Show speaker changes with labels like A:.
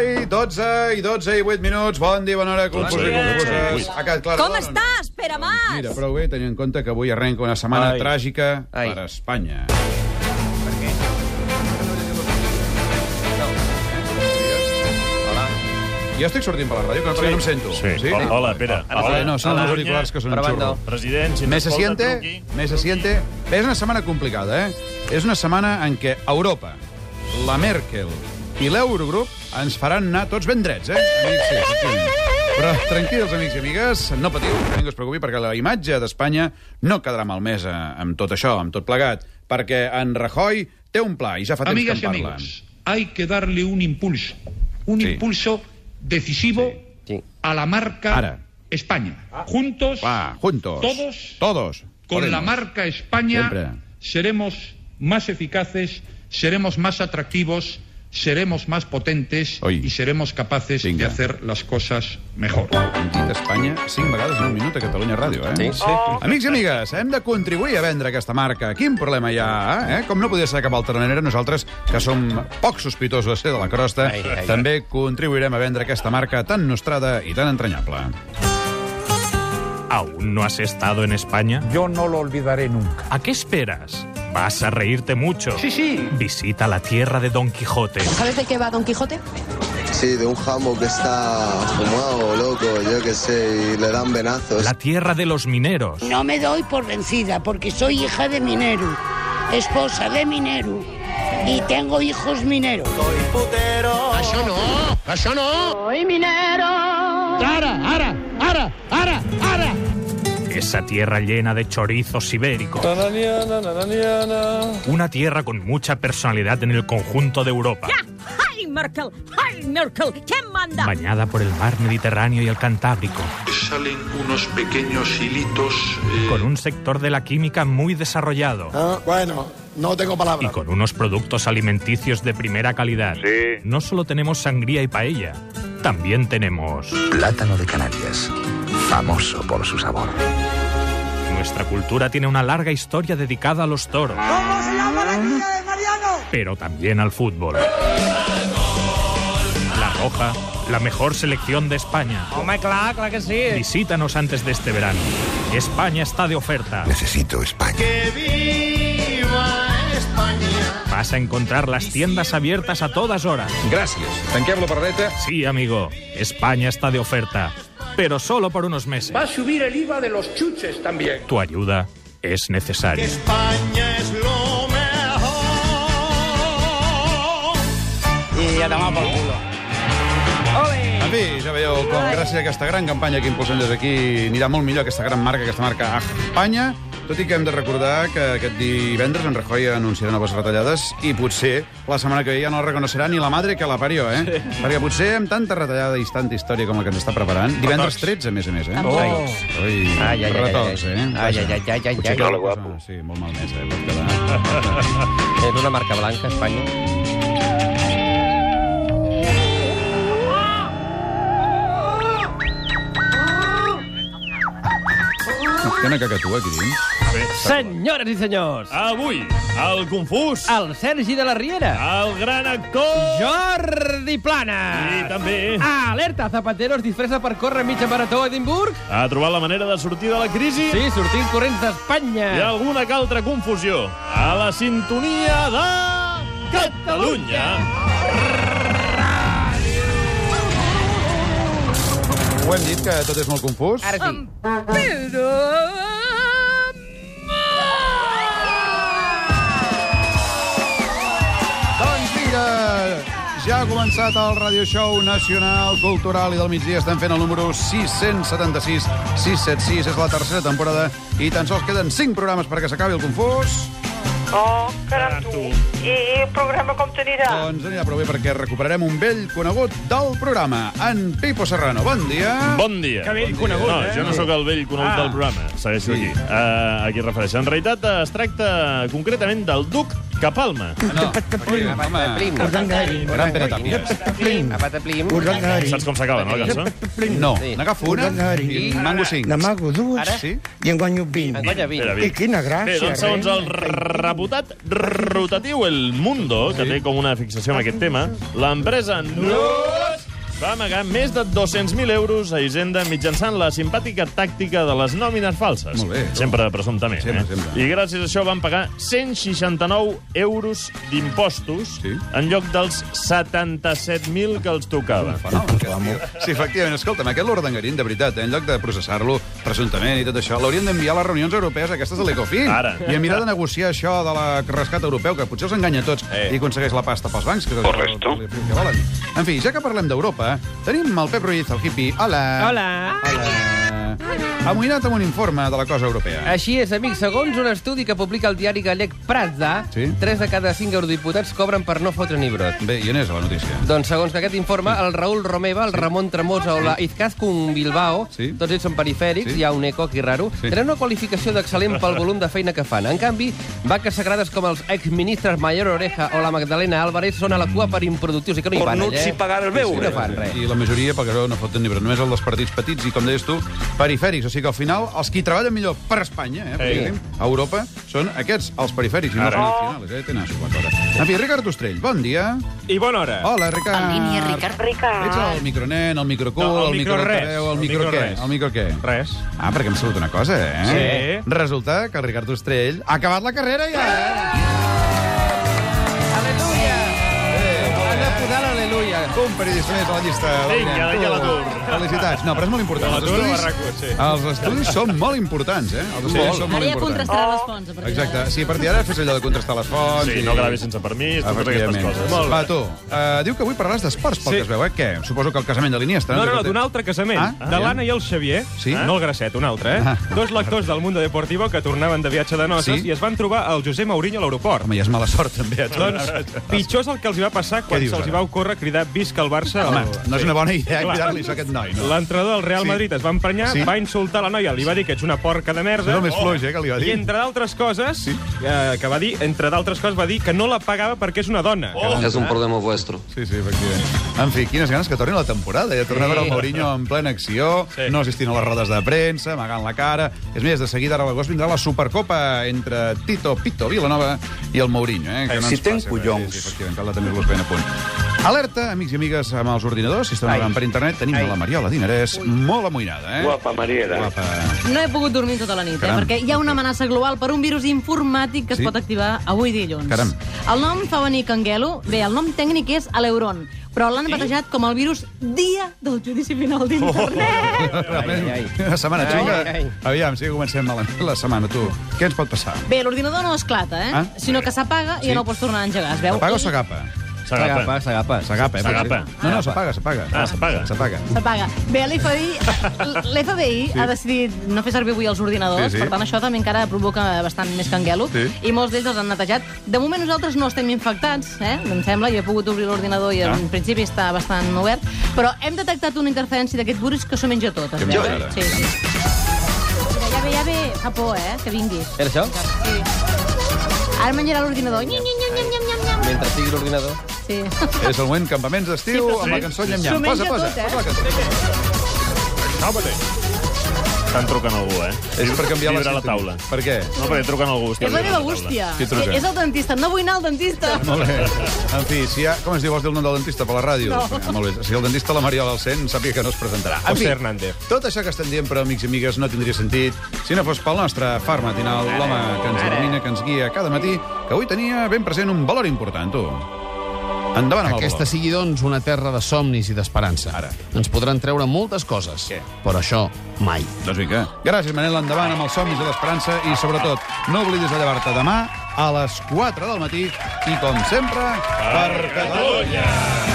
A: 12 i 12 i 8 minuts. Bon dia, bona hora, club.
B: Bon dia.
A: Confuses. Ha quedat clar.
C: Com
A: Doncs
C: estàs, Pere Mas?
A: Mira, prou bé, tenint en compte que avui arrenca una setmana
B: Ai.
A: tràgica
B: Ai.
A: per Espanya. Jo estic sortint per la ràdio, que no, sí. no em sento.
D: Sí. Hola, hola, Pere.
A: Ah,
D: Hola.
A: No, són
B: Hola.
A: els auriculars que són un
B: Hola.
A: xurro.
D: President, si
A: Me se
D: m'escolta,
A: siente,
D: truqui.
A: me se siente... Bé, és una setmana complicada, eh? És una setmana en què Europa, la Merkel i l'Eurogrup ens faran anar tots ben drets, eh? Amics, sí, sí. Però tranquils, amics i amigues, no patiu, que ningú es preocupi, perquè la imatge d'Espanya no quedarà malmesa amb tot això, amb tot plegat, perquè en Rajoy té un pla, i ja fa temps
E: Amigas y
A: que en parla.
E: amigos, hay que darle un impulso, un
A: Sí.
E: impulso decisivo
B: Sí.
E: a la marca
A: Ara.
E: España. Juntos,
A: Va, juntos.
E: Todos.
A: Todos.
E: con la
A: Podemos.
E: marca España,
A: Siempre.
E: seremos más eficaces, seremos más atractivos, seremos más potentes
A: Oy.
E: y seremos capaces
A: Venga.
E: de hacer las cosas mejor.
A: Hem dit Espanya cinc vegades en un minut a Catalunya Ràdio, eh?
B: Sí, sí.
A: Amics i amigues, hem de contribuir a vendre aquesta marca. Quin problema hi ha, eh? Com no podia ser de cap altra manera, nosaltres, que som poc sospitosos eh, de ser de la crosta,
B: Ai, ai, ai.
A: també contribuirem a vendre aquesta marca tan nostrada i tan entranyable.
F: ¿Aún no has estado en España?
G: Yo no lo olvidaré nunca.
F: ¿A qué esperas? Vas a reírte mucho.
E: Sí, sí.
F: Visita la tierra de Don Quijote.
H: ¿Sabes de qué va Don Quijote?
I: Sí, de un jambo que está fumado, loco, yo qué sé, y le dan venazos.
F: La tierra de los mineros.
J: No me doy por vencida porque soy hija de minero, esposa de minero y tengo hijos mineros.
F: Esa tierra llena de chorizos ibéricos. Una tierra con mucha personalidad en el conjunto de Europa.
C: Ah, Ai, Merkel! Ai, Merkel! Què em manda?
F: Bañada por el mar Mediterráneo y el Cantábrico.
E: Salen unos pequeños hilitos. eh,
F: Con un sector de la química muy desarrollado.
G: Eh? bueno, no tengo
F: Y
G: palabras.
F: con unos productos alimenticios de primera calidad. No solo tenemos sangría y paella, también tenemos...
G: Plátano de Canarias, famoso por su sabor.
F: Nuestra cultura tiene una larga historia dedicada a los toros. Pero también al fútbol. La Roja, la mejor selección de España.
B: Home, clar, clar que sí.
F: Visítanos antes de este verano. España está de oferta.
G: Necesito España.
F: Vas a encontrar las tiendas abiertas a todas horas.
A: Gràcies. Tanquem la barreta.
F: Sí, amigo, España está de oferta. Pero solo por unos meses.
E: a subir el IVA de los chuches también.
F: Tu ayuda es necesaria.
B: I a tomar pel culo.
A: En fi, ja veieu com gràcies a aquesta gran campanya que impulsem des d'aquí anirà molt millor aquesta gran marca, aquesta marca Espanya, tot i que hem de recordar que aquest divendres en Rajoy anunciarà noves retallades i potser la setmana que ve ja no la reconeixerà ni la madre que la parió, eh? Sí. Perquè potser amb tanta retallada i tanta història com la que ens està preparant, divendres 13, a més a més, eh?
B: Oh.
A: Ui,
B: Ai, ai, ai,
A: retocs,
B: ai, ai.
A: eh?
B: Ai, ai, ai, ai, ai,
A: Potser que
B: ai.
A: la
B: Hola,
A: cosa-
B: guapo.
A: Sí, molt malmès, eh? Pot quedar...
B: És una marca blanca, Espanya.
A: Hi ha una cacatua aquí dins?
B: Senyores i senyors,
D: Avui, el confús,
B: el Sergi de la Riera,
D: el gran actor
B: Jordi
D: i
B: Plana.
D: també
B: Alerta, Zapatero es disfressa per córrer mitja marató a Edimburg.
D: ha trobat la manera de sortir de la crisi
B: Sí, sortint corrents
D: i
B: d'Espanya.
D: alguna que altra confusió. A la sintonia de... Catalunya!
A: Ho hem dit, que tot és molt confús.
B: Ara sí.
C: Pedro...
A: Doncs vinga, ja ha començat el Radio Show Nacional Cultural i del migdia estem fent el número 676, 676, és la tercera temporada i tan sols queden 5 programes perquè s'acabi el confús.
J: Oh, caram tu. I, I el programa com t'anirà?
A: Doncs anirà prou bé perquè recuperarem un vell conegut del programa, en Pipo Serrano. Bon dia.
D: Bon dia.
B: Que vell
D: Bon dia.
B: conegut,
D: no,
B: eh?
D: Jo no sóc el vell conegut
B: Ah.
D: del programa, segueixo
A: Sí.
D: aquí. Uh, aquí es refereix. En realitat eh, es tracta concretament del duc Capalma.
A: No, home,
B: Plim.
A: gran Pere Tàpies.
B: Apata plim.
D: Saps com s'acaba, no, la cançó?
A: No, n'agafo una i en mango 5.
G: N'amago dues
B: Ara?
A: Sí?
G: i en guanyo 20.
B: Enguanya vint.
D: Espera,
G: I quina
D: Bé,
G: gràcia.
D: doncs segons el reputat rotatiu El Mundo, que té com una fixació amb aquest tema, l'empresa Nus va amagar més de 200.000 euros a Hisenda mitjançant la simpàtica tàctica de les nòmines falses.
A: Molt bé.
D: Sempre presumptament.
A: Sempre,
D: eh?
A: sempre.
D: I gràcies a això van pagar 169 euros d'impostos
A: Sí.
D: en lloc dels 77.000 que els tocava.
A: Sí, efectivament, escolta'm, aquest Lord Dangarín, de veritat, eh, en lloc de processar-lo presumptament i tot això, l'haurien d'enviar a les reunions europees aquestes de l'Ecofin.
D: Ara.
A: I a mirar de negociar això de la rescat europeu, que potser els enganya a tots
D: Eh.
A: i aconsegueix la pasta pels bancs. Que
G: Correcto.
A: Que volen. En fi, ja que parlem d'Europa, tenim el Pep Ruiz, el hippie. Hola.
B: Hola.
A: Hola. Amoïnat amb un informe de la cosa europea.
B: Així és, amics. Segons un estudi que publica el diari gallec Pravda,
A: Sí.
B: 3 de cada 5 eurodiputats cobren per no fotre ni brot.
A: Bé, i on és la notícia?
B: Doncs segons que aquest informe, el Raül Romeva, el Ramon Tremosa o la Izcazcun Bilbao,
A: Sí.
B: tots ells són perifèrics,
A: Sí.
B: hi ha un eco aquí raro,
A: Sí.
B: tenen una qualificació d'excel·lent pel volum de feina que fan. En canvi, vaques sagrades com els exministres Mayor Oreja o la Magdalena Álvarez són a la cua per improductius i que no hi van, allà. eh?
H: el
B: No fan res.
A: I la majoria, perquè això no foten ni brot, només el dels partits petits i, com deies tu, perifèrics. O sigui que al final els qui treballen millor per Espanya, eh, per
D: Ei.
A: exemple, a Europa, són aquests, els perifèrics, i no
D: Ara.
A: són els finals. Eh? Tenen la cosa. En fi, Ricard Ostrell, bon dia.
H: I bona hora.
A: Hola, Ricard.
C: En línia, Ricard.
K: Ricard.
A: Ets el micronen, el microcul,
H: No, el
A: el,
H: micro res.
A: microcabeu, el
H: El
A: micro
H: micro
A: què?
H: res.
A: El micro què?
H: Res.
A: Ah, perquè hem sabut una cosa, eh?
H: Sí.
A: Resulta que el Ricard Ostrell ha acabat la carrera ja, eh?
B: Aleluia! Han de posar l'aleluia.
A: Un periodista més a la llista.
D: Vinga, d'aquí a l'atur.
A: Felicitats. No, però és molt important.
D: A
A: Els
D: l'atur o a
A: estudis-
D: RAC1, sí.
A: Els estudis són molt importants, eh? Els estudis són molt
C: Ara ja
A: importants.
C: contrastarà les fonts. a partir
A: Exacte. Sí, a partir d'ara fes allò de contrastar les fonts.
D: Sí, no gravis sense permís, totes aquestes
A: Efectivament.
D: coses.
A: Va, tu, uh, diu que avui parlaràs d'esports, pel
H: Sí.
A: que es veu, eh? Què? Suposo que el casament de l'Iniesta...
H: No, no, no, d'un altre casament.
A: Ah,
H: Ah, de
A: ah,
H: l'Anna
A: ja.
H: i el Xavier.
A: Sí.
H: No el Gracet, un altre, eh?
A: Ah.
H: Dos lectors del Mundo Deportivo que tornaven de viatge de noces
A: Sí.
H: i es van trobar al Josep Mourinho a l'aeroport.
A: Home, ja és mala sort, també. a tu.
H: Doncs pitjor és el que els hi va passar quan
A: dius,
H: se'ls hi
A: ara?
H: va ocórrer cridar visca el Barça.
A: Home,
H: al-
A: no és
H: Sí.
A: una bona idea
H: Clar.
A: cuidar-li això a aquest noi, no?
H: L'entrenador del Real
A: Sí.
H: Madrid es va emprenyar,
A: Sí.
H: va insultar la noia, li va dir que ets una porca de merda.
A: Això és el més fluix, eh, que li va dir.
H: I entre d'altres coses, eh, que va dir, entre d'altres coses, va dir que no la pagava perquè és una dona. Oh.
I: Es un problema vuestro.
A: Sí, sí, efectivament. En fi, quines ganes que torni la temporada. Ja tornar a veure el Mourinho en plena acció, sí.
H: Sí.
A: no assistint a les rodes de premsa, amagant la cara... És més, de seguida ara a l'agost vindrà la Supercopa entre Tito Pito Vilanova i el Mourinho. Eh? Que
K: Eh, si
A: ens
K: ten
A: passa,
K: collons.
A: Sí, sí, efectivament, cal de tenir-los ben a punt. Alerta, amics i amigues, amb els ordinadors. Si estan navegant per internet, tenim la Mariola Dinarès molt amoïnada. Eh?
K: Guapa, Mariela.
A: Guapa.
C: No he pogut dormir tota la nit, eh,
A: Caram.
C: perquè hi ha una amenaça global per un virus informàtic que es
A: Sí?
C: pot activar avui dilluns.
A: Caram.
C: El nom fa venir Canguelo. Bé, el nom tècnic és Aleuron, però l'han batejat com el virus dia del judici final
A: Oh.
C: d'internet.
A: Realment, Una setmana xunga. Aviam, si comencem malament la setmana, tu. Què ens pot passar?
C: Bé, l'ordinador no esclata, eh?
A: Ah.
C: sinó que s'apaga i
A: Sí.
C: ja no pots tornar a engegar, es veu?
A: S'apaga o
C: Ell-
A: s'agapa?
D: S'agapa.
B: s'agapa.
A: S'agapa, eh?
D: S'agapa.
A: No, no, s'apaga, s'apaga.
D: Ah, s'apaga.
A: S'apaga.
C: S'apaga. Bé, l'FBI l'FBI ha decidit no fer servir avui els ordinadors,
A: Sí, sí.
C: per tant això també encara provoca bastant més canguelo,
A: Sí.
C: i molts d'ells els han netejat. De moment nosaltres no estem infectats, eh? em sembla, jo he pogut obrir l'ordinador i
A: Ah.
C: en principi està bastant obert, però hem detectat una interferència d'aquest virus que s'ho menja tot. es
A: Que
C: veu,
A: menja
C: eh?
A: ara.
C: Sí, sí. Mira, ja ve, ja ve, fa por, eh, que vingui.
B: Era això?
C: Sí. Ara menjarà l'ordinador. Nyam, nyam, nyam, nyam, nyam, nyam.
B: Mentre sigui l'ordinador.
C: Sí.
A: És el moment campaments d'estiu amb la cançó Nyam Nyam.
C: S'ho
A: Posa,
C: menja
A: posa,
C: tot, eh?
A: posa la cançó.
D: Calma-te. Estan trucant algú, eh?
A: És per canviar la,
D: Vibra la
A: sintonia.
D: taula.
A: Per què?
D: No, perquè truquen algú.
C: És la meva bústia.
A: Qui truca?
C: És el dentista. No vull anar al dentista.
A: Molt bé. En fi, si hi ha... Com es diu, vols dir el nom del dentista per la ràdio?
C: No.
A: Ah, Molt bé. Si el dentista la Mariola el sent, sàpiga que no es presentarà. En
H: José
A: fi,
H: Hernández.
A: tot això que estem dient, però, amics i amigues, no tindria sentit si no fos pel nostre far matinal, l'home que ens domina, que ens guia cada matí, que avui tenia ben present un valor important, tu. Endavant amb
L: Aquesta
A: el valor.
L: sigui, doncs, una terra de somnis i d'esperança.
A: Ara.
L: Ens podran treure moltes coses,
A: Què?
L: però això mai.
A: Doncs vinga. Gràcies, Manel, endavant amb els somnis de l'esperança i, sobretot, no oblidis de llevar-te demà a les 4 del matí i, com sempre, per Catalunya!